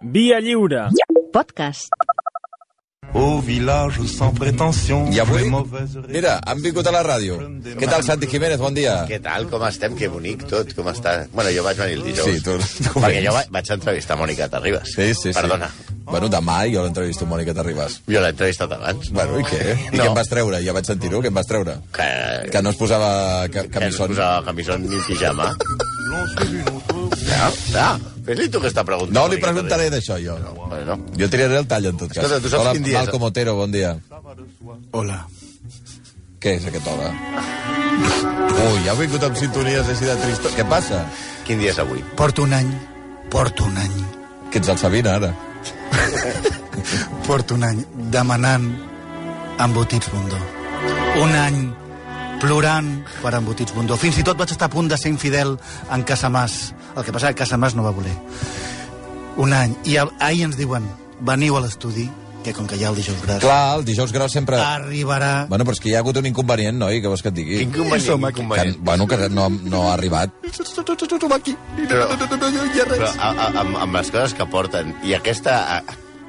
Via lliure. Podcast. Au village sans prétention. I avui, les mauvaises ré- mira, han vingut a la ràdio. Què tal, Santi Jiménez? Bon dia. Què tal? Com estem? Que bonic tot. Com està? Bueno, jo vaig venir el dijous. Sí, tu- tu Perquè vens. jo va- vaig entrevistar Mònica Terribas. Sí, sí, sí. Perdona. Bueno, demà jo l'entrevisto amb Mònica Terribas. Jo l'he entrevistat abans. Bueno, i què? I No. què em vas treure? Ja vaig sentir-ho, què em vas treure? Que, Que no es posava ca que no es camisón. posava camisón ni pijama. L'on suit une autre route. Ja, ja. Fes-li tu aquesta pregunta. No li Mònica preguntaré d'això, jo. Terribas. Bueno, Jo tiraré el tall, en tot cas. Escolta, tu saps Hola, quin dia és? Malcom Otero, bon dia. Hola. Què és aquest home? Ui, ha vingut amb sintonies així de tristor. Què passa? quin dia és avui? Porto un any, porto un any, Que ets el Sabina, ara. porto un any demanant embotits bundó. Un any plorant per embotits bundó. Fins i tot vaig estar a punt de ser infidel en Casamàs. El que passa és que Casamàs no va voler. Un any. I a- ahir ens diuen, veniu a l'estudi, que com que ja el dijous gras Clar, el dijous gros sempre... arribarà... Bueno, però és que hi ha hagut un inconvenient, noi, què vols que et digui? Quin convenient, Que, inconvenient. bueno, que no, no ha arribat. Però, però a, a, amb, amb les coses que porten i aquesta a, a-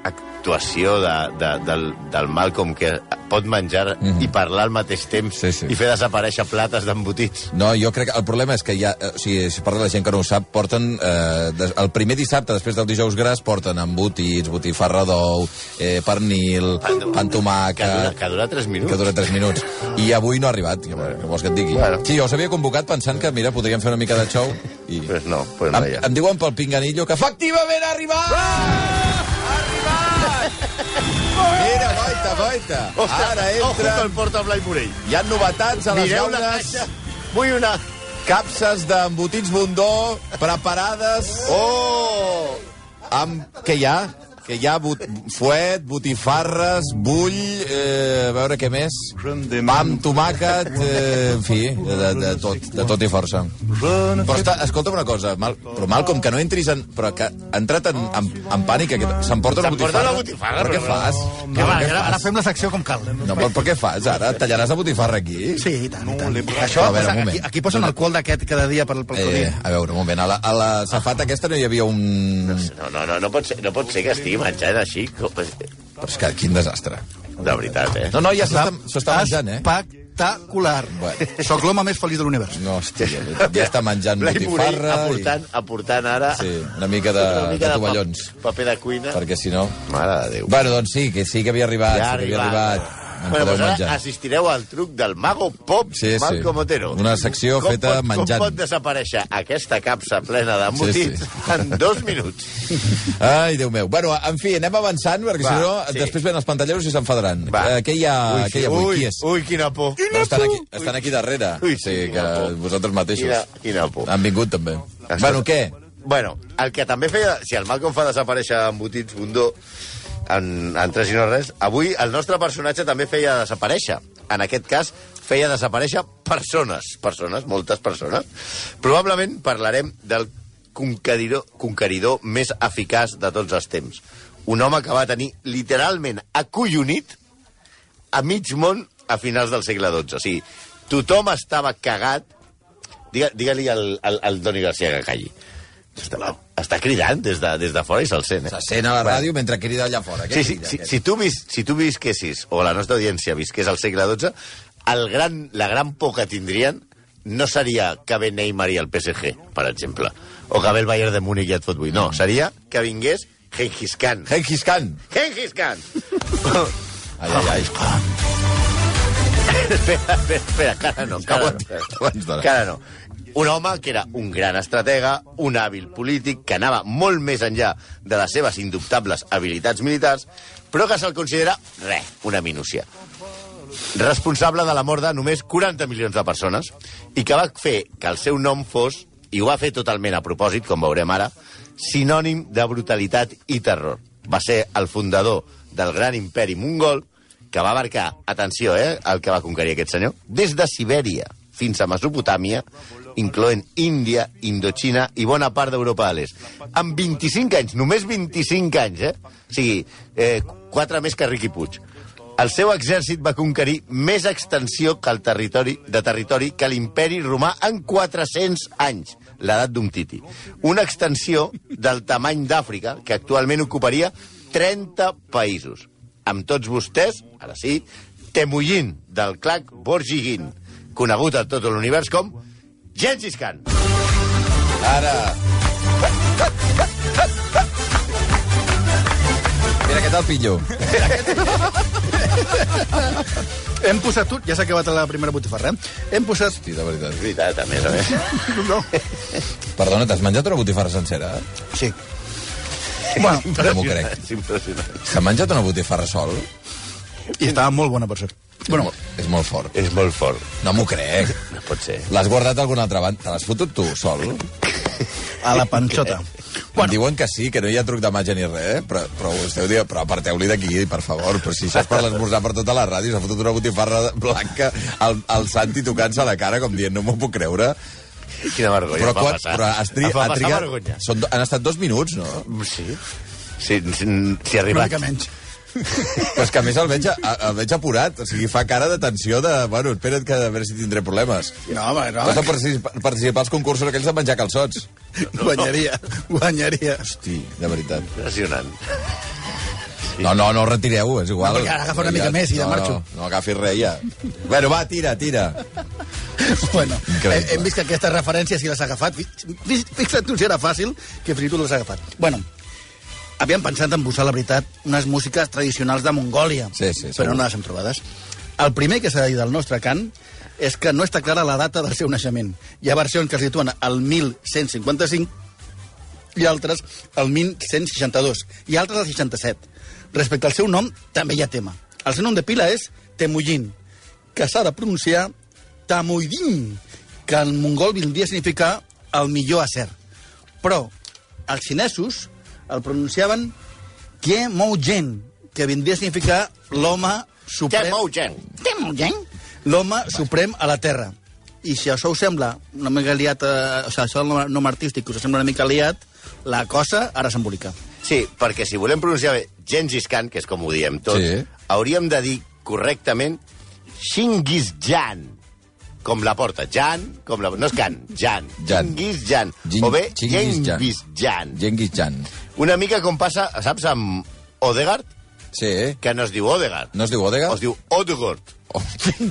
actuació de, de, del, del Malcolm que pot menjar mm -hmm. i parlar al mateix temps Mm-hmm. Sí, sí. i fer desaparèixer plates d'embotits. No, jo crec que el problema és que ja, eh, o sigui, si parla la gent que no ho sap, porten eh, des, el primer dissabte, després del dijous gras, porten embotits, botifarra d'ou, eh, pernil, pan Que dura, tomàquet... Ah, que dura 3 minuts. que dura 3 minuts. I avui no ha arribat, què vols que et digui? Bueno. Sí, jo els havia convocat pensant que, mira, podríem fer una mica de xou i... Pues no, pues no Em, ja. em diuen pel pinganillo que efectivament ha arribat! Ah! Ha arribat! Mira, guaita, guaita. Ara entra... Ah, Ojo que el porta Blai Morell. Hi ha novetats a les Mireu la llaunes. caixa. Vull una... Capses d'embotits bondó preparades. Oh! Amb... Què hi ha? Que hi ha but... fuet, botifarres, bull, eh, a veure què més. Pa amb tomàquet, eh, en fi, de, de, tot, de tot i força. Je ne Però està, escolta'm una cosa, mal, però mal com que no entris en... Però que ha entrat en, en, en pànic, aquest... s'emporta la S'emporta botifarra. la botifarra, Però què però- fas? Ja va, Però què ara, ara fas? fem la secció com cal. No, però, però què fas, ara? Et Tallaràs la botifarra aquí? Sí, i tant, i tant. les bras. Això, A veure, un moment. aquí, aquí posen el col d'aquest cada dia per, pel Covid. Eh, a veure, un moment, a la, a la Ah. safata aquesta no hi havia un... No, no, no, no pot ser, no pot ser que estigui menjant així. com- De Però és que quin desastre. veritat, eh? No, no, ja s'està s'està menjant, eh? Espectacular. Bueno. Soc l'home més feliç de l'univers. No, hòstia, ja està menjant Blai Morell botifarra i aportant, aportant ara... Sí, una mica de- de pa- tovallons. paper de cuina. perquè si no... Mare de Déu. Bueno, doncs sí, que sí que havia arribat, Ja ha sí que havia arribat. arribat. En Bueno, podeu doncs ara menjar. assistireu al truc del mago pop Sí, sí. Malcom Otero. Una secció com feta pot, menjant. Com pot desaparèixer aquesta capsa plena d'embotits Sí, sí, sí. en dos minuts? Ai, Déu meu. Bueno, en fi, anem avançant, perquè Va, si no, sí. després venen els pantalleros i s'enfadaran. Va. Eh, què hi ha, Ui, què hi ha avui? ui, Qui és? Ui, quina por. No, estan, aquí, estan aquí darrere. Ui, o sigui sí, que quina por. vosaltres mateixos. Quina, quina por. Han vingut, també. Escolta. Bueno, què? Bueno, el que també feia... Si el Malcolm fa desaparèixer embotits bundó en, en tres i no res, avui el nostre personatge també feia desaparèixer. En aquest cas, feia desaparèixer persones. Persones, moltes persones. Probablement parlarem del conqueridor, conqueridor més eficaç de tots els temps. Un home que va tenir literalment acollonit a mig món a finals del segle XII. O sigui, tothom estava cagat. Digue- Digue-li al, al, al Doni Garcia que calli. Està, està cridant des de, des de fora i se'l sent. Eh? Se sent a la ràdio mentre crida allà fora. Què Sí, sí, crida, si, aquest? si, tu vis, si tu visquessis, o la nostra audiència visqués al segle XII, el gran, la gran por que tindrien no seria que ve Neymar i el PSG, per exemple, o que ve el Bayern de Múnich i et fot vuit. No, seria que vingués Genghis Khan. Genghis Khan. Genghis Khan! Ai, ai, ai. espera, espera, espera, encara no, encara Aguanta, no. aguanta. Encara no. Un home que era un gran estratega, un hàbil polític, que anava molt més enllà de les seves indubtables habilitats militars, però que se'l considera, res, una minúcia. Responsable de la mort de només 40 milions de persones i que va fer que el seu nom fos, i ho va fer totalment a propòsit, com veurem ara, sinònim de brutalitat i terror. Va ser el fundador del gran imperi mongol que va abarcar, atenció, eh, el que va conquerir aquest senyor, des de Sibèria fins a Mesopotàmia, incloent Índia, Indochina i bona part d'Europa de l'Est. Amb 25 anys, només 25 anys, eh? O sigui, eh, 4 més que Riqui Puig. El seu exèrcit va conquerir més extensió que el territori de territori que l'imperi romà en 400 anys. l'edat d'un titi. Una extensió del tamany d'Àfrica que actualment ocuparia 30 països. Amb tots vostès, ara sí, Temullin, del clac Borjigin, conegut a tot l'univers com Gengis Khan. Ara... Mira, aquest el pillo. Hem posat tot... Ja s'ha acabat la primera botifarra. eh? Hem posat... Sí, de veritat. Veritat, a més a més. No. Perdona, t'has menjat una botifarra sencera? Sí. Bueno, No m'ho crec. És impressionant. S'ha menjat una botifarra sol? i estava molt bona, per cert. Bueno, és molt fort. És molt fort. No m'ho crec. No pot ser. L'has guardat d'alguna altra banda? Te l'has fotut tu, sol? A la panxota. Bueno. Diuen que sí, que no hi ha truc de màgia ni res, eh? però, però ho esteu dient, però aparteu-li d'aquí, per favor. Però si saps per l'esmorzar per tota la ràdio, s'ha fotut una botifarra blanca al, al Santi tocant-se la cara, com dient, no m'ho puc creure. Quina vergonya però em fa quan, passar. però has tri, Em fa ha passar trigat... vergonya. Són, do- han estat dos minuts, no? Sí. Sí, sí, sí Una arribat. mica menys. Però és que a més el veig, a- el veig apurat, o sigui, fa cara de tensió de... Bueno, espera't que a veure si tindré problemes. No, home, no. Vas a participar, participar als concursos aquells de menjar calçots. Guanyaria, guanyaria. Hosti, de veritat. Impressionant. No, no, no, retireu, és igual. No, perquè ara agafa una mica més i ja no, marxo. No, no agafis res, ja. Bueno, va, tira, tira. Bueno, eh, Increïble. hem vist que aquestes referències, si les ha agafat, fi- fi- fixa't tu si era fàcil, que fins i tot les ha agafat. Bueno, havíem pensat en posar, la veritat, unes músiques tradicionals de Mongòlia, Sí, sí, però segur. no les hem trobades. El primer que s'ha de dir del nostre cant és que no està clara la data del seu naixement. Hi ha versions que es situen al 1155 i altres al 1162 i altres al 67. Respecte al seu nom, també hi ha tema. El seu nom de pila és Temullin, que s'ha de pronunciar Tamuidin, que en mongol vindria a significar el millor acer. Però els xinesos el pronunciaven Tie Moujin, que vindria a significar l'home suprem... Temugen. Temugen. L'home suprem a la Terra. I si això us sembla una mica liat, eh, o sigui, això del nom, nom artístic us sembla una mica liat, la cosa ara s'embolica. Sí, perquè si volem pronunciar bé Gengis Khan, que és com ho diem tots, Sí. hauríem de dir correctament Shingis Jan, com la porta. Jan, com la... No és Khan, Jan. Jan. Genghis Jan. Gen- o bé, Genghis Jan. Genghis Jan. Genghis Jan. Una mica com passa, saps, amb Odegaard, Sí, eh? que no es diu Odegaard. No es diu Odega? Es diu Odegaard, Oh.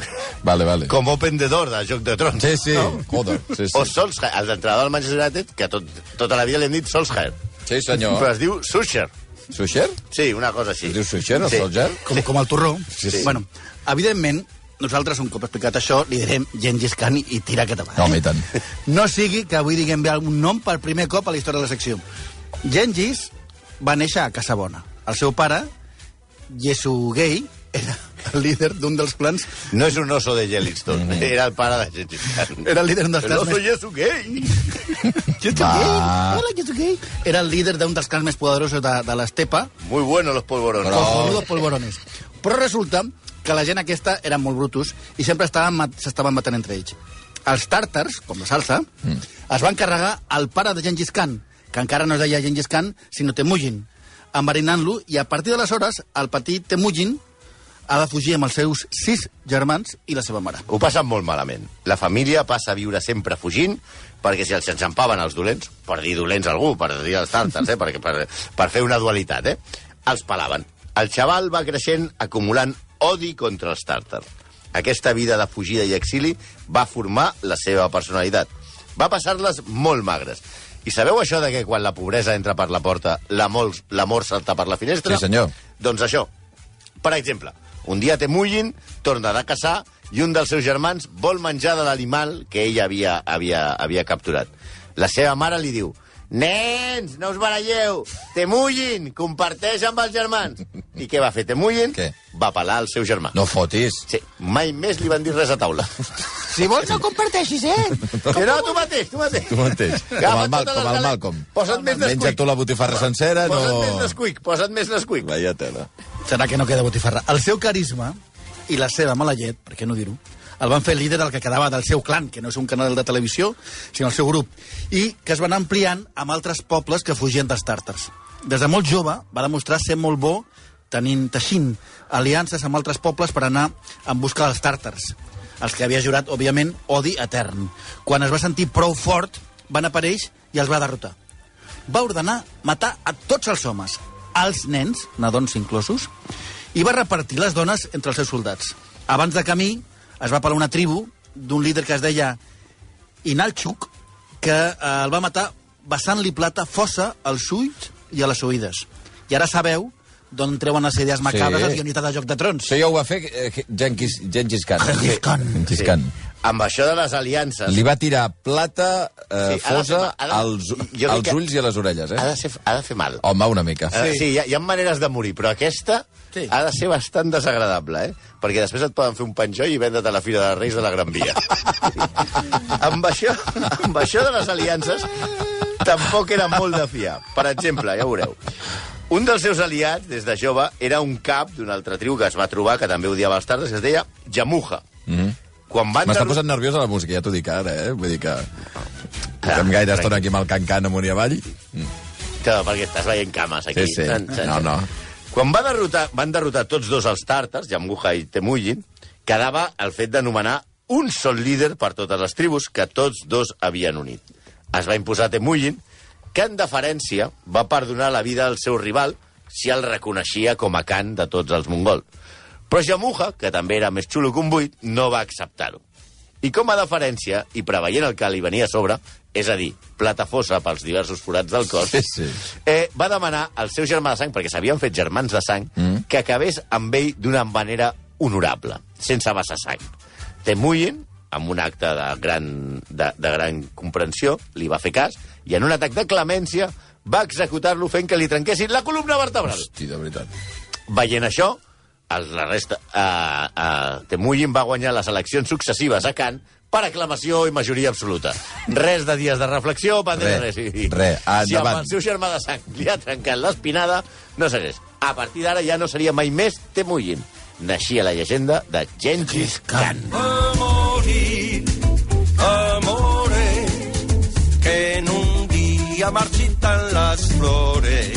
Vale, vale. com Open the Door de Joc de Trons. Sí, sí. No? Joder, sí, O sí. Solskjaer, el d'entrenador del Manchester United, que tot, tota la vida li hem dit Solskjaer. Sí, Però senyor. es Pues diu Susher. Suixer? Sí, una cosa així. Es diu Suixer o Sí. Solger? com, com el torró. Sí, sí. Bueno, evidentment, nosaltres, un cop explicat això, li direm Gengis Khan i tira aquest avant. No, home, i tant. No sigui que avui diguem bé algun nom per primer cop a la història de la secció. Gengis va néixer a Casabona. El seu pare, Yesugei, era el líder d'un dels clans No és un oso de Yellowstone, era el pare de Gengis Khan. Era el líder d'un dels El oso clans ja és un gay. Yesugei, hola Yesugei, era el líder d'un dels clans més poderosos de, de l'estepa, Muy bueno los polvorones. Però- Cojonudos polvorones. Però resulta que la gent aquesta eren molt brutos i sempre estaven mat- s'estaven matant entre ells. Els tàrtars, com la salsa, mm. es van carregar el pare de Gengis Khan, que encara no es deia Gengis Khan, sinó Temujin, enverinant-lo, i a partir d'aleshores el petit Temujin ha de fugir amb els seus sis germans i la seva mare. Ho passen molt malament. La família passa a viure sempre fugint, perquè si els enxampaven els dolents, per dir dolents a algú, per dir els tàrtars, eh? perquè per, per fer una dualitat, eh? els palaven. El xaval va creixent acumulant odi contra els tàrtars. Aquesta vida de fugida i exili va formar la seva personalitat. Va passar-les molt magres. I sabeu això de que quan la pobresa entra per la porta, l'amor l'amor salta per la finestra? Sí, senyor. Doncs això. Per exemple, un dia té Mullin, torna de caçar i un dels seus germans vol menjar de l'animal que ell havia, havia, havia capturat. La seva mare li diu Nens, no us baralleu! Temullin, comparteix amb els germans! I què va fer Temullin? Què? Va pelar el seu germà. No fotis. Sí, mai més li van dir res a taula. Si vols no comparteixis, eh? Que no, tu mateix, tu mateix. Tu mateix. Com Agafa el, Mal, totes com les el galetes. Malcolm. tota Posa't més Menja Nesquik. tu la botifarra sencera, no... Posa't més Nesquik, posa't més Nesquik. Vaya tela. Serà que no queda botifarra. El seu carisma i la seva mala llet, per què no dir-ho, el van fer líder del que quedava del seu clan, que no és un canal de televisió, sinó el seu grup, i que es van anar ampliant amb altres pobles que fugien dels tàrtars. Des de molt jove va demostrar ser molt bo tenint, teixint aliances amb altres pobles per anar en busca dels tàrtars, els que havia jurat, òbviament, odi etern. Quan es va sentir prou fort, van aparèixer i els va derrotar. Va ordenar matar a tots els homes, als nens, nadons inclosos, i va repartir les dones entre els seus soldats. Abans de camí es va parlar una tribu d'un líder que es deia Inalchuk, que eh, el va matar vessant-li plata fossa als ulls i a les oïdes. I ara sabeu d'on treuen les idees macabres Sí. sí. els guionistes de Joc de Trons. Això ja ho va fer eh, Genghis, Genghis Khan. Genghis Khan. Genghis Khan. Amb això de les aliances... Li va tirar plata, eh, Sí, ha de sí, fosa, fer- ha de- als, jo crec als que- ulls i a les orelles, Ha eh? de, ser, ha de fer mal. Eh, Home, una mica. Sí, sí hi, ha, hi ha maneres de morir, però aquesta Sí. sí. ha de ser bastant desagradable, eh? Perquè després et poden fer un penjoll i vendre't a la Fira de Reis de la Gran Via. amb, això, amb això de les aliances tampoc era molt de fiar. Per exemple, ja ho veureu. Un dels seus aliats, des de jove, era un cap d'una altra tribu que es va trobar, que també odiava els tardes, que es deia Jamuja. Mm -hmm. Quan van Mm-hmm. M'està derrotar- posant nerviós a la música, ja t'ho dic ara, eh? Vull dir que... Clar, Estem gaire tranquil. estona aquí amb el cancan amunt i avall. Que, perquè estàs veient cames aquí. Sí, sí. Tan, tan, No, tan. no. Quan va derrotar, van derrotar tots dos els tàrtars, Yamguha i Temullin, quedava el fet d'anomenar un sol líder per totes les tribus que tots dos havien unit. Es va imposar Temullin, que en deferència va perdonar la vida al seu rival si el reconeixia com a Khan de tots els mongols. Però Jamuha, que també era més xulo que un buit, no va acceptar-ho. I com a deferència, i preveient el que li venia a sobre, és a dir, plata fosa pels diversos forats del cos, Sí, sí. Eh, va demanar al seu germà de sang, perquè s'havien fet germans de sang, mm. que acabés amb ell d'una manera honorable, sense vessar sang. Temuyen, amb un acte de gran, de, de gran comprensió, li va fer cas, i en un atac de clemència va executar-lo fent que li trenquessin la columna vertebral. Hosti, de veritat. Veient això, el, la resta... Uh, uh, Temullin va guanyar les eleccions successives a Kant per aclamació i majoria absoluta. Res de dies de reflexió, va dir Re, res. I- re, si amb endavant. el seu germà de sang li ha trencat l'espinada, no sé res. A partir d'ara ja no seria mai més Temullin. Naixia la llegenda de Gengis Khan. morì, amore, che in un dia marcitan las flores.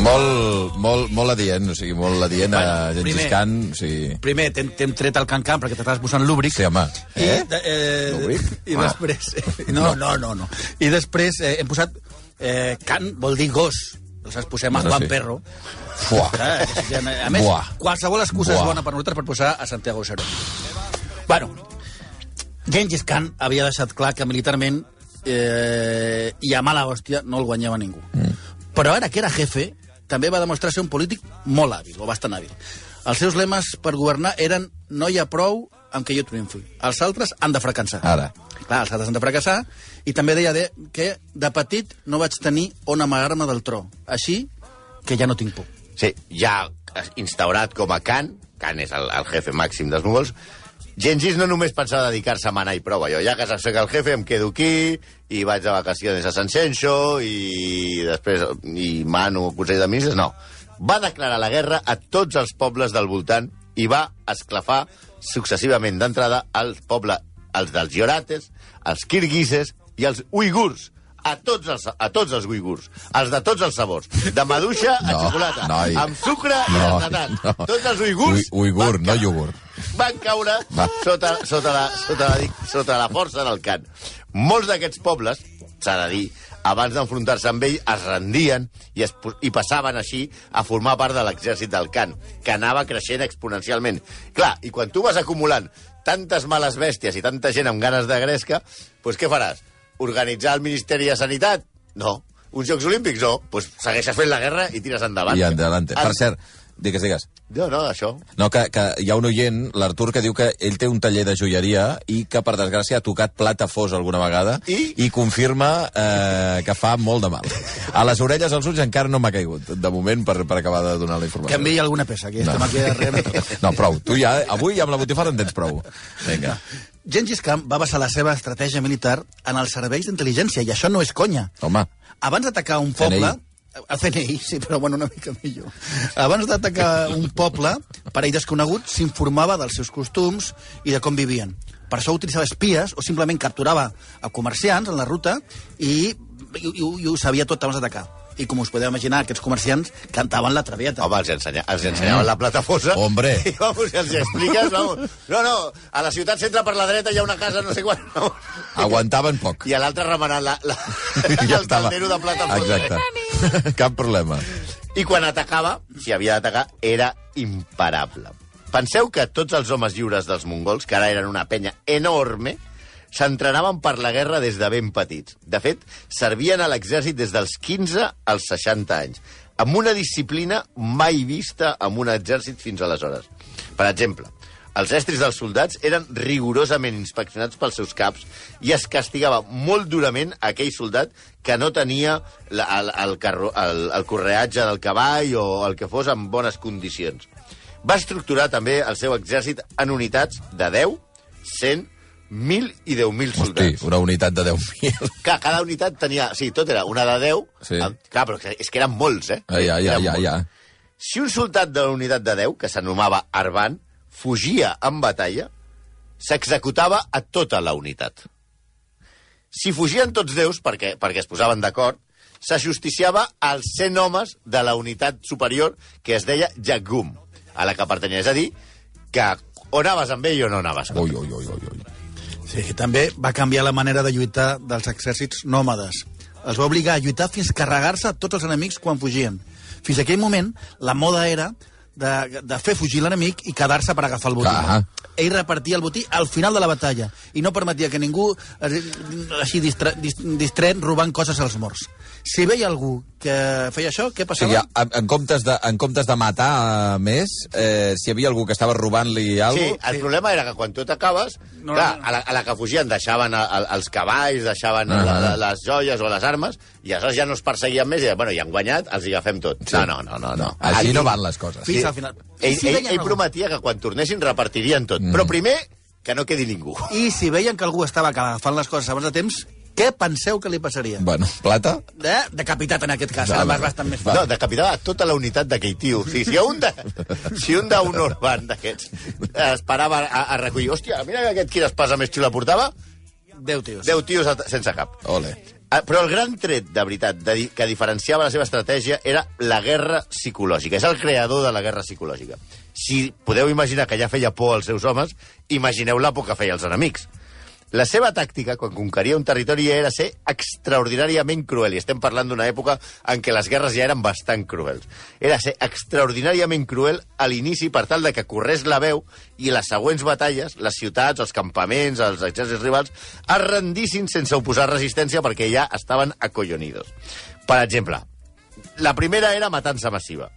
Molt, molt, molt adient, o sigui, molt adient a Bueno, Genghis primer- Khan, o sigui... Primer t'hem t'hem tret el cancan perquè t'estàs posant lúbric. Sí, home. I, Eh? de- eh, Lúbric? I Ah. després... eh, No, no, no, no. I després eh, hem posat... Eh, can vol dir gos. Nosaltres posem a Bueno, Juan sí. Perro. Fuà. Clar, que sí, Eh, A més, Buah. qualsevol excusa Buah. és bona per nosaltres per posar a Santiago Cerón. Bueno, Genghis Khan havia deixat clar que militarment eh, i a mala hòstia no el guanyava ningú. Mm. Però ara que era jefe, també va demostrar ser un polític molt hàbil, o bastant hàbil. Els seus lemes per governar eren no hi ha prou amb que jo triomfi. Els altres han de fracassar. Ara. Clar, els altres han de fracassar. I també deia de, que de petit no vaig tenir on amagar-me del tro. Així que ja no tinc por. Sí, ja instaurat com a Khan, Khan és el, el jefe màxim dels núvols, Gengis no només pensava dedicar-se a manar i prou, allò, ja que s'aixeca el jefe em quedo aquí i vaig de vacaciones a San Senxo i després i mano al Consell de Ministres, no. Va declarar la guerra a tots els pobles del voltant i va esclafar successivament d'entrada als pobles, els dels Llorates, els kirguises i els uigurs, a tots els, a tots els uigurs, els de tots els sabors, de maduixa a No, xocolata, noi. amb sucre i Noi, desnatat. no. Tots els uigurs... Ui- uigur, van no ca- iogurt. Van caure Va. sota, sota, la, sota, la, dic- sota la força del Khan. Molts d'aquests pobles, s'ha de dir, abans d'enfrontar-se amb ell, es rendien i, es, po- i passaven així a formar part de l'exèrcit del Khan, que anava creixent exponencialment. Clar, i quan tu vas acumulant tantes males bèsties i tanta gent amb ganes de gresca, doncs què faràs? Organitzar el Ministeri de Sanitat? No. Uns Jocs Olímpics? No. Doncs segueixes fent la guerra i tires endavant. I endavant. Per En- cert, digues, digues. No, no, això. No, que, que hi ha un oient, l'Artur, que diu que ell té un taller de joieria i que, per desgràcia, ha tocat plata fos alguna vegada I? i confirma eh, que fa molt de mal. A les orelles, als ulls, encara no m'ha caigut, de moment, per, per acabar de donar la informació. Canviï alguna peça, que no. estem aquí darrere. No, prou. Tu ja, avui amb la botifarra en tens prou. Vinga. Genghis Khan va basar la seva estratègia militar en els serveis d'intel·ligència, i això no és conya. Home, Abans d'atacar un CNI. poble... El CNI, sí, però bueno, una mica millor. Abans d'atacar un poble, per ell desconegut, s'informava dels seus costums i de com vivien. Per això utilitzava espies o simplement capturava a comerciants en la ruta i, i, i, ho- i ho sabia tot abans d'atacar. i, com us podeu imaginar, aquests comerciants cantaven la traviata. Home, els, ensenya, els ensenyaven la platafosa. Hombre. I vamos, i els expliques, vamos. No, no, a la ciutat centre per la dreta hi ha una casa, no sé quan. Vamos. Aguantaven poc. I a l'altre remenant la, la, Ja el estava. taldero de platafosa. Exacte. Cap problema. I quan atacava, si havia d'atacar, era imparable. Penseu que tots els homes lliures dels mongols, que ara eren una penya enorme, s'entrenaven per la guerra des de ben petits. De fet, servien a l'exèrcit des dels 15 als 60 anys, amb una disciplina mai vista amb un exèrcit fins aleshores. Per exemple, els estris dels soldats eren rigorosament inspeccionats pels seus caps i es castigava molt durament a aquell soldat que no tenia la, el, el, carro, el, el correatge del cavall o el que fos en bones condicions. Va estructurar també el seu exèrcit en unitats de 10, 100, 1.000 i 10.000 Hosti, soldats. una unitat de 10.000. Clar, cada unitat tenia... Sí, tot era una de 10. Sí. Amb, clar, però és que eren molts, eh? Ai, ai, ai, Eren ai, molts. ai. Si un soldat de la unitat de 10, que s'anomava Arban, fugia en batalla, s'executava a tota la unitat. Si fugien tots déus, perquè, perquè es posaven d'acord, s'ajusticiava als 100 homes de la unitat superior, que es deia Jagum, a la que pertanyia. És a dir, que o anaves amb ell o no anaves. Ui, ui, ui, ui, ui. Sí, també va canviar la manera de lluitar dels exèrcits nòmades. Els va obligar a lluitar fins carregar-se a tots els enemics quan fugien. Fins aquell moment, la moda era de, de fer fugir l'enemic i quedar-se per agafar el botí. Clar. Ell repartia el botí al final de la batalla i no permetia que ningú eh, així distra, dis, distret robant coses als morts. Si veia algú que feia això, què O sigui, passava? en, en, comptes de, en comptes de matar eh, més, eh, si hi havia algú que estava robant-li Sí, alguna cosa... el problema era que quan tu t'acabes, no, clar, a la, a la que fugien deixaven a, a, els cavalls, deixaven Ah. ah, la, la, les joies o les armes, i aleshores ja no es perseguien més, i deien, bueno, ja han guanyat, els hi agafem tot. Sí. No, no, no, no. no. Així no van les coses. Fins al final. Ell, Sí, ell, deien ell algú. prometia que quan tornessin repartirien tot, mm. però primer que no quedi ningú. I si veien que algú estava agafant les coses abans de temps, què penseu que li passaria? Bueno, plata? de, decapitat en aquest cas, Va, ara va, vas bastant més Va. fort. No, decapitava tota la unitat d'aquell tio. Sí, si un de, si un d'un urban d'aquests es parava a, a recollir... Hòstia, mira que aquest qui l'espasa més xula portava, Déu, tios. 10 tios a- sense cap. Ole. Ah, Però el gran tret, de veritat, de, di- que diferenciava la seva estratègia era la guerra psicològica. És el creador de la guerra psicològica. Si podeu imaginar que ja feia por als seus homes, imagineu la por que feia als enemics. La seva tàctica, quan conqueria un territori, ja era ser extraordinàriament cruel. I estem parlant d'una època en què les guerres ja eren bastant cruels. Era ser extraordinàriament cruel a l'inici per tal de que corrés la veu i les següents batalles, les ciutats, els campaments, els exèrcits rivals, es rendissin sense oposar resistència perquè ja estaven acollonidos. Per exemple, la primera era matança massiva.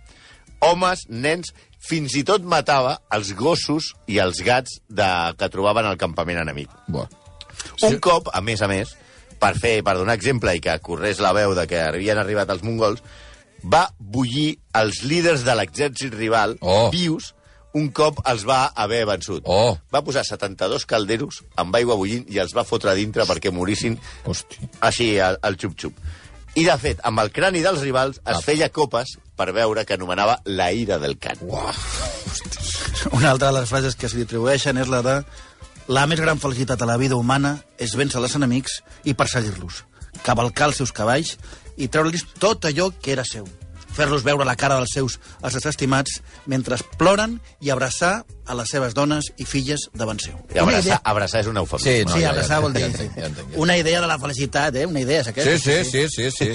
Homes, nens, fins i tot matava els gossos i els gats de, que trobaven al campament enemic. Buah. Un cop, a més a més, per fer per donar exemple i que corrés la veu de que havien arribat els mongols, va bullir els líders de l'exèrcit rival Oh. vius un cop els va haver vençut. Oh. Va posar 72 calderos amb aigua bullint i els va fotre a dintre perquè morissin Hosti. així, al, al xup-xup. I, de fet, amb el crani dels rivals es feia copes per veure que anomenava la ira del can. Uah. Una altra de les frases que se li atribueixen és la de la més gran felicitat a la vida humana és vèncer els enemics i perseguir-los, cavalcar els seus cavalls i treure-los tot allò que era seu, fer-los veure la cara dels seus els seus estimats mentre ploren i abraçar a les seves dones i filles davant seu. I Una idea- abraçar, abraçar és un eufemisme. Sí, sí, ja, ja, abraçar vol ja dir... entenc, ja entenc, ja. Una idea de la felicitat, eh? Una idea és aquesta. Sí, sí, sí, sí, sí.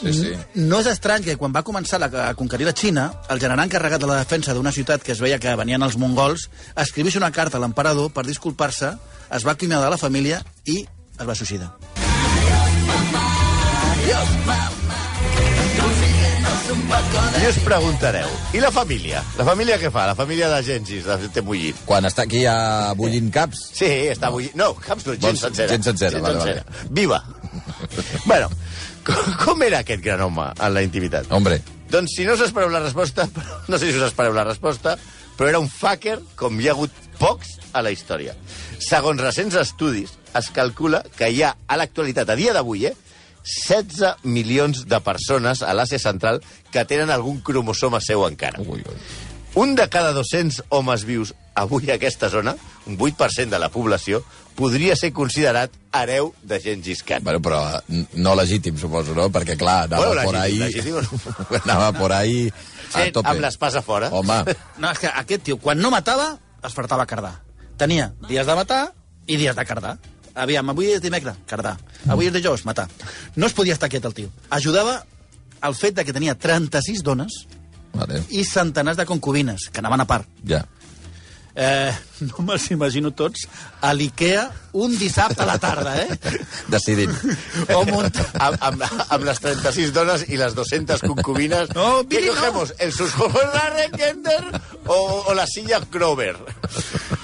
sí, sí. No és estrany que quan va començar la, a conquerir la Xina, el general encarregat de la defensa d'una ciutat que es veia que venien els mongols escrivís una carta a l'emperador per disculpar-se, es va acomiadar de la família i es va suïcidar. I us preguntareu, i la família? La família què fa? La família de Gengis, de Té Mullit. Quan està aquí a bullint caps... Sí, està bullit. No, caps no, gent Vols- sencera. gent sencera, vale, vale. Viva! bueno, com, com era aquest gran home en la intimitat? Hombre, Doncs si no us espereu la resposta, no sé si us espereu la resposta, però era un fucker com hi ha hagut pocs a la història. Segons recents estudis, es calcula que hi ha a l'actualitat, a dia d'avui, eh, 16 milions de persones a l'Àsia Central que tenen algun cromosoma seu encara. ui, ui. Un de cada 200 homes vius avui a aquesta zona, un 8% de la població podria ser considerat hereu de Gengis Khan. Bueno, però eh, no legítim, suposo, no? Perquè, clar, anava Bueno, por ahí... legítim, legítim o no? anava por ahí a Sent tope. amb l'espasa fora. Home, No, és que aquest tio, quan no matava, es fartava a cardar. Tenia dies de matar i dies de cardar. Aviam, avui és dimecres, cardar. Avui és dijous, matar. No es podia estar quiet el tio. Ajudava el fet de que tenia 36 dones vale, i centenars de concubines, que anaven a part. ja. Eh, no me'ls imagino tots a l'IKEA un dissabte a la tarda, eh? Decidint. O muntant... amb, amb, amb les 36 dones i les 200 concubines. No, ¿Qué Billy, no. cogemos? ¿El susjuegos Larry Kender o, o la silla Grover?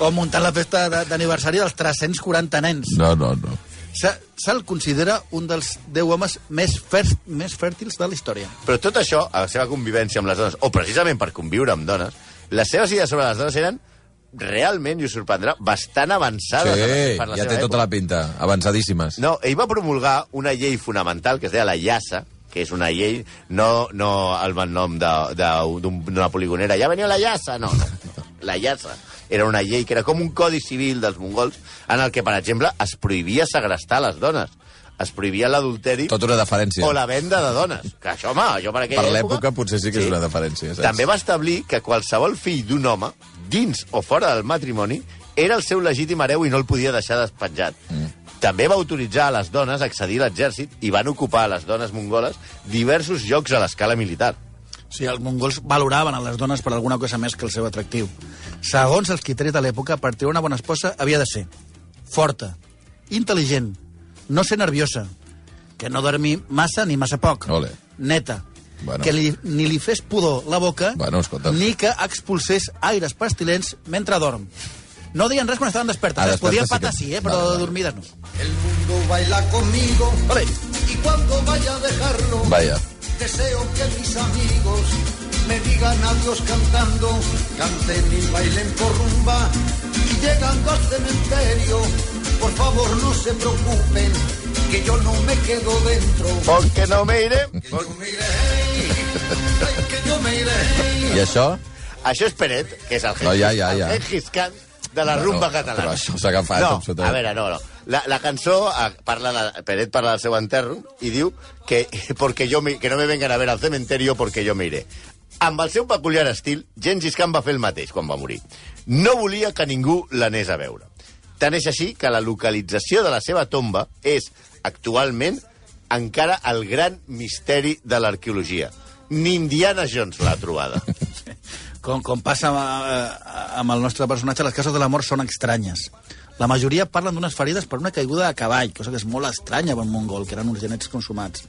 O muntant la festa de- d'aniversari dels 340 nens. No, no, no. Se- Se'l considera un dels 10 homes més, fer, més fèrtils de la història. Però tot això, a la seva convivència amb les dones, o precisament per conviure amb dones, les seves idees sobre les dones eren realment, i us sorprendrà, bastant avançades. Sí, per la ja seva té tota la pinta. Avançadíssimes. No, ell va promulgar una llei fonamental que es deia la Yassa, que és una llei, no, no el mal nom de- de- d'un- d'una poligonera, ja venia la Yassa, no, no, no, la Yassa. Era una llei que era com un codi civil dels mongols en el que, per exemple, es prohibia segrestar les dones, es prohibia l'adulteri Tota una deferència. o la venda de dones. Que això, home, jo per aquella Per època l'època potser sí que és una deferència, saps? eh, també va establir que qualsevol fill d'un home, dins o fora del matrimoni, era el seu legítim hereu i no el podia deixar despenjat. Mm. També va autoritzar a les dones a accedir a l'exèrcit i van ocupar a les dones mongoles diversos llocs a l'escala militar. O sigui, els mongols valoraven a les dones per alguna cosa més que el seu atractiu. Segons els criteris de l'època, per treure una bona esposa havia de ser forta, intel·ligent, no ser nerviosa, que no dormi massa ni massa poc, Ole. neta, Bueno. que li, ni li fes pudor la boca, Bueno, escolta. ni que expulsés aires pestilents mentre dorm. No deien res quan estaven despertes, Ah, ah, es podien despertes patar sí sí, que- eh, però Vale, vale. dormides no. El mundo baila conmigo Ole. y cuando vaya a dejarlo, Vaya. deseo que mis amigos me digan adiós cantando, canten y bailen por rumba y llegando al cementerio, por favor no se preocupen, que yo no me quedo dentro. Porque no me iré... Que yo me iré, ay, que yo me iré. I això? Això és Peret, que és el Gengis, No, ja, ja, ja. el Gengis Khan de la No, rumba no, catalana. però això s'ha agafat no, absolutament. A veure, no, no. La, la cançó eh, parla de, Peret parla del seu enterro i diu que, porque yo me, que no me vengan a ver al cementerio porque yo me iré. Amb el seu peculiar estil, Gengis Khan va fer el mateix quan va morir. No volia que ningú l'anés a veure. Tant és així que la localització de la seva tomba és, actualment, encara el gran misteri de l'arqueologia. Ni Indiana Jones l'ha trobada. Com, com passa eh, amb el nostre personatge, les cases de la mort són estranyes. La majoria parlen d'unes ferides per una caiguda de cavall, cosa que és molt estranya per un mongol, que eren uns genets consumats.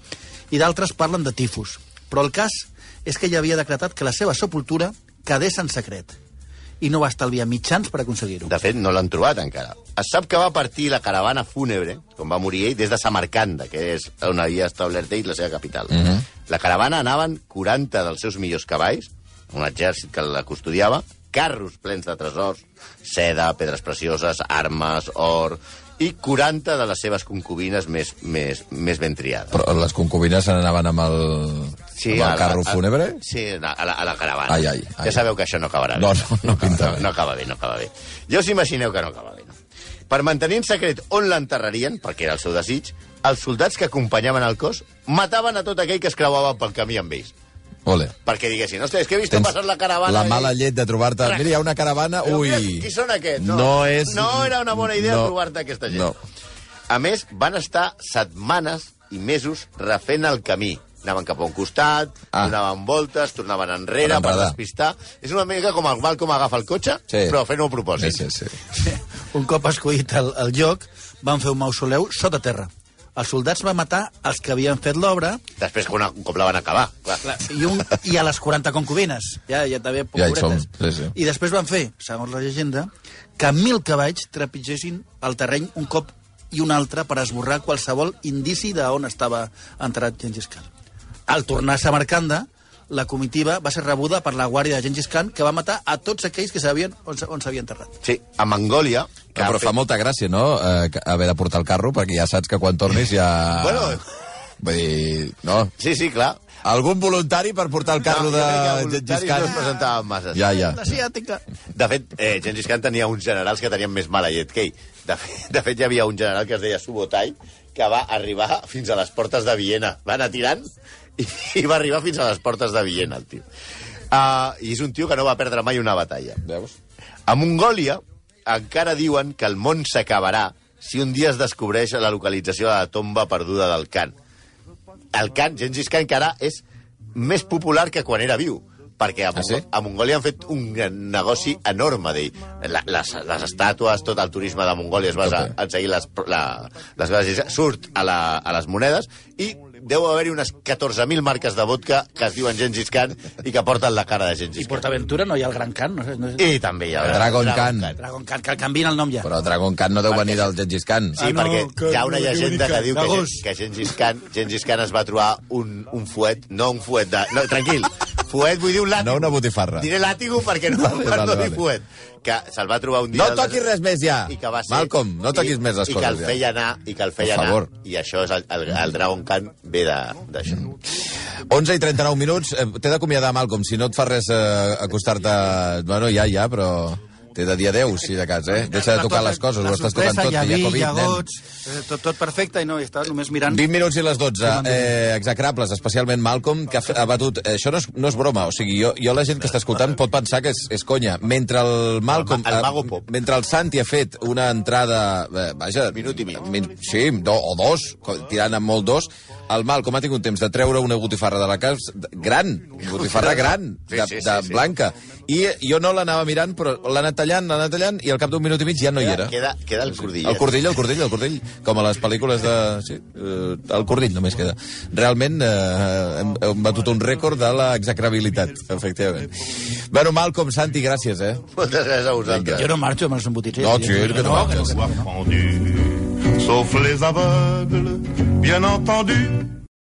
I d'altres parlen de tifus. Però el cas és que ell havia decretat que la seva sepultura quedés en secret i no va estalviar mitjans per aconseguir-ho. De fet, no l'han trobat encara. Es sap que va partir la caravana fúnebre, com va morir ell, des de Samarcanda, que és on havia establert ell la seva capital. Mm -hmm. La caravana anaven 40 dels seus millors cavalls, un exèrcit que la custodiava, carros plens de tresors, seda, pedres precioses, armes, or i 40 de les seves concubines més, més, més ben triades. Però les concubines se n'anaven amb el, amb a el la- carro a- fúnebre? Sí, a la, a la, a la caravana. Ai, ai, ai. Ja sabeu que això no acabarà No, bé. no, no pinta no, bé. no acaba bé, no acaba bé. Ja us imagineu que no acaba bé, no? Per mantenir en secret on l'enterrarien, perquè era el seu desig, els soldats que acompanyaven el cos mataven a tot aquell que es creuava pel camí amb ells. Ole. Perquè diguessin, hòstia, és que he vist passar la caravana... la i- mala llet de trobar-te... Mira, hi ha una caravana... Però Ah, Ui... mira, qui són aquests? No, No, és... no era una bona idea trobar-te aquesta gent. No. A més, van estar setmanes i mesos refent el camí. Anaven cap a un costat, Ah. ah. donaven voltes, tornaven enrere Per per enredar. despistar. És una mica com el Malcolm agafa el cotxe, Sí. però fent-ho a Sí, propòsit. sí, sí. Un cop escollit el, el lloc, van fer un mausoleu sota terra. Els soldats van matar els que havien fet l'obra Després, quan un cop la van acabar, clar. Clar, i, un, i a les 40 concubines. Ja, ja també Ja hi pobretes. som, sí, sí. I després van fer, segons la llegenda, que mil cavalls trepitgessin el terreny un cop i un altre per esborrar qualsevol indici d'on estava enterrat Gengis Khan. Al tornar a Samarcanda, la comitiva va ser rebuda per la guàrdia de Gengis Khan, que va matar a tots aquells que sabien on, s- on s'havia enterrat. Sí, a Mongòlia... que No, Ah, però ha fa fet- molta gràcia, no?, eh, que- haver de portar el carro, perquè ja saps que quan tornis ja... Bueno, Vull dir, no. Sí, sí, clar. Algun voluntari per portar el carro jo crec que de voluntaris Gengis No es Khan? presentaven massa. Ja, ja. L'asiàtica. De fet, eh, Gengis Khan tenia uns generals que tenien més mala llet que ell. De fet, de fet, hi havia un general que es deia Subotai, que va arribar fins a les portes de Viena. Va anar tirant i, i va arribar fins a les portes de Viena, el tio. Uh, I és un tio que no va perdre mai una batalla. Veus? A Mongòlia encara diuen que el món s'acabarà si un dia es descobreix la localització de la tomba perduda del Khan. El Khan, Gengis Khan, que ara és més popular que quan era viu, perquè a, Mongo Ah, sí? a Mongòlia han fet un negoci enorme d'ell. La, les, les estàtues, tot el turisme de Mongòlia es basa Tot, en seguir les, la, les gràcies. Surt a, la, a les monedes i deu haver-hi unes 14.000 marques de vodka que es diuen Gengis Khan i que porten la cara de I Gengis Khan. Portaventura no hi ha el Gran Can? No, sé, no sé. I també hi ha... Dragon Khan. Dragon Can, que canviïn el nom ja. Però Dragon Khan no deu venir del Gengis Khan. Sí, Ah, no, perquè que hi ha una no, que llegenda que bonica, diu de que, gos. que Gengis Khan, Gengis Khan es va trobar un, un fuet, no un fuet de... No, tranquil, fuet vull dir un làtigo. No una botifarra. Diré làtigo perquè no, vale, vale, no dir vale. fuet. Que se'l va trobar un dia... No al toquis desert res més ja. I que va ser, Malcolm, no toquis i, més les i coses I que ja. el feia anar, i que el Per feia favor. anar. I això és el, el, el Dragon Khan ve de- d'això. Mm, 11 i 39 minuts. Eh, T'he d'acomiadar, Malcolm, si no et fa res eh, acostar-te... Bueno, ja, ja, però... T'he de dir adeu, si de cas, eh? Deixa de tocar les coses, ho estàs tocant tot, hi ha que hi ha vi, hi Covid, ha nen. gots, eh, tot, tot perfecte, i no, i estàs només mirant... 20 minuts i les 12, Sí, eh, execrables, especialment Malcolm, que ha fe- ha batut... eh, Això no és, no és broma, o sigui, jo, jo la gent que està escoltant pot pensar que és, és conya. Mentre el Malcolm... El ma- el eh, Mago Pop. Mentre el Santi ha fet una entrada... eh, Vaja... Minut i mig. min- Sí, do, o dos, co- tirant amb molt dos, el Malcolm ha tingut temps de treure una botifarra de la casa, de- gran, botifarra gran, Sí, de, sí, sí, de sí. blanca. I jo no l'anava mirant, però l'ha anat tallant, l'ha anat tallant, i al cap d'un minut i mig ja no hi era. Queda, queda el cordill. El cordill, el cordill, el cordill, com a les pel·lícules de... Sí, eh, el cordill només queda. Realment eh, hem, hem batut un rècord de l'execrabilitat, efectivament. Bueno, Malcolm, Santi, gràcies, eh? Moltes gràcies a vosaltres. Jo no marxo amb els embotits. No, tio, que no marxes. Sauf les aveugles, bien entendu.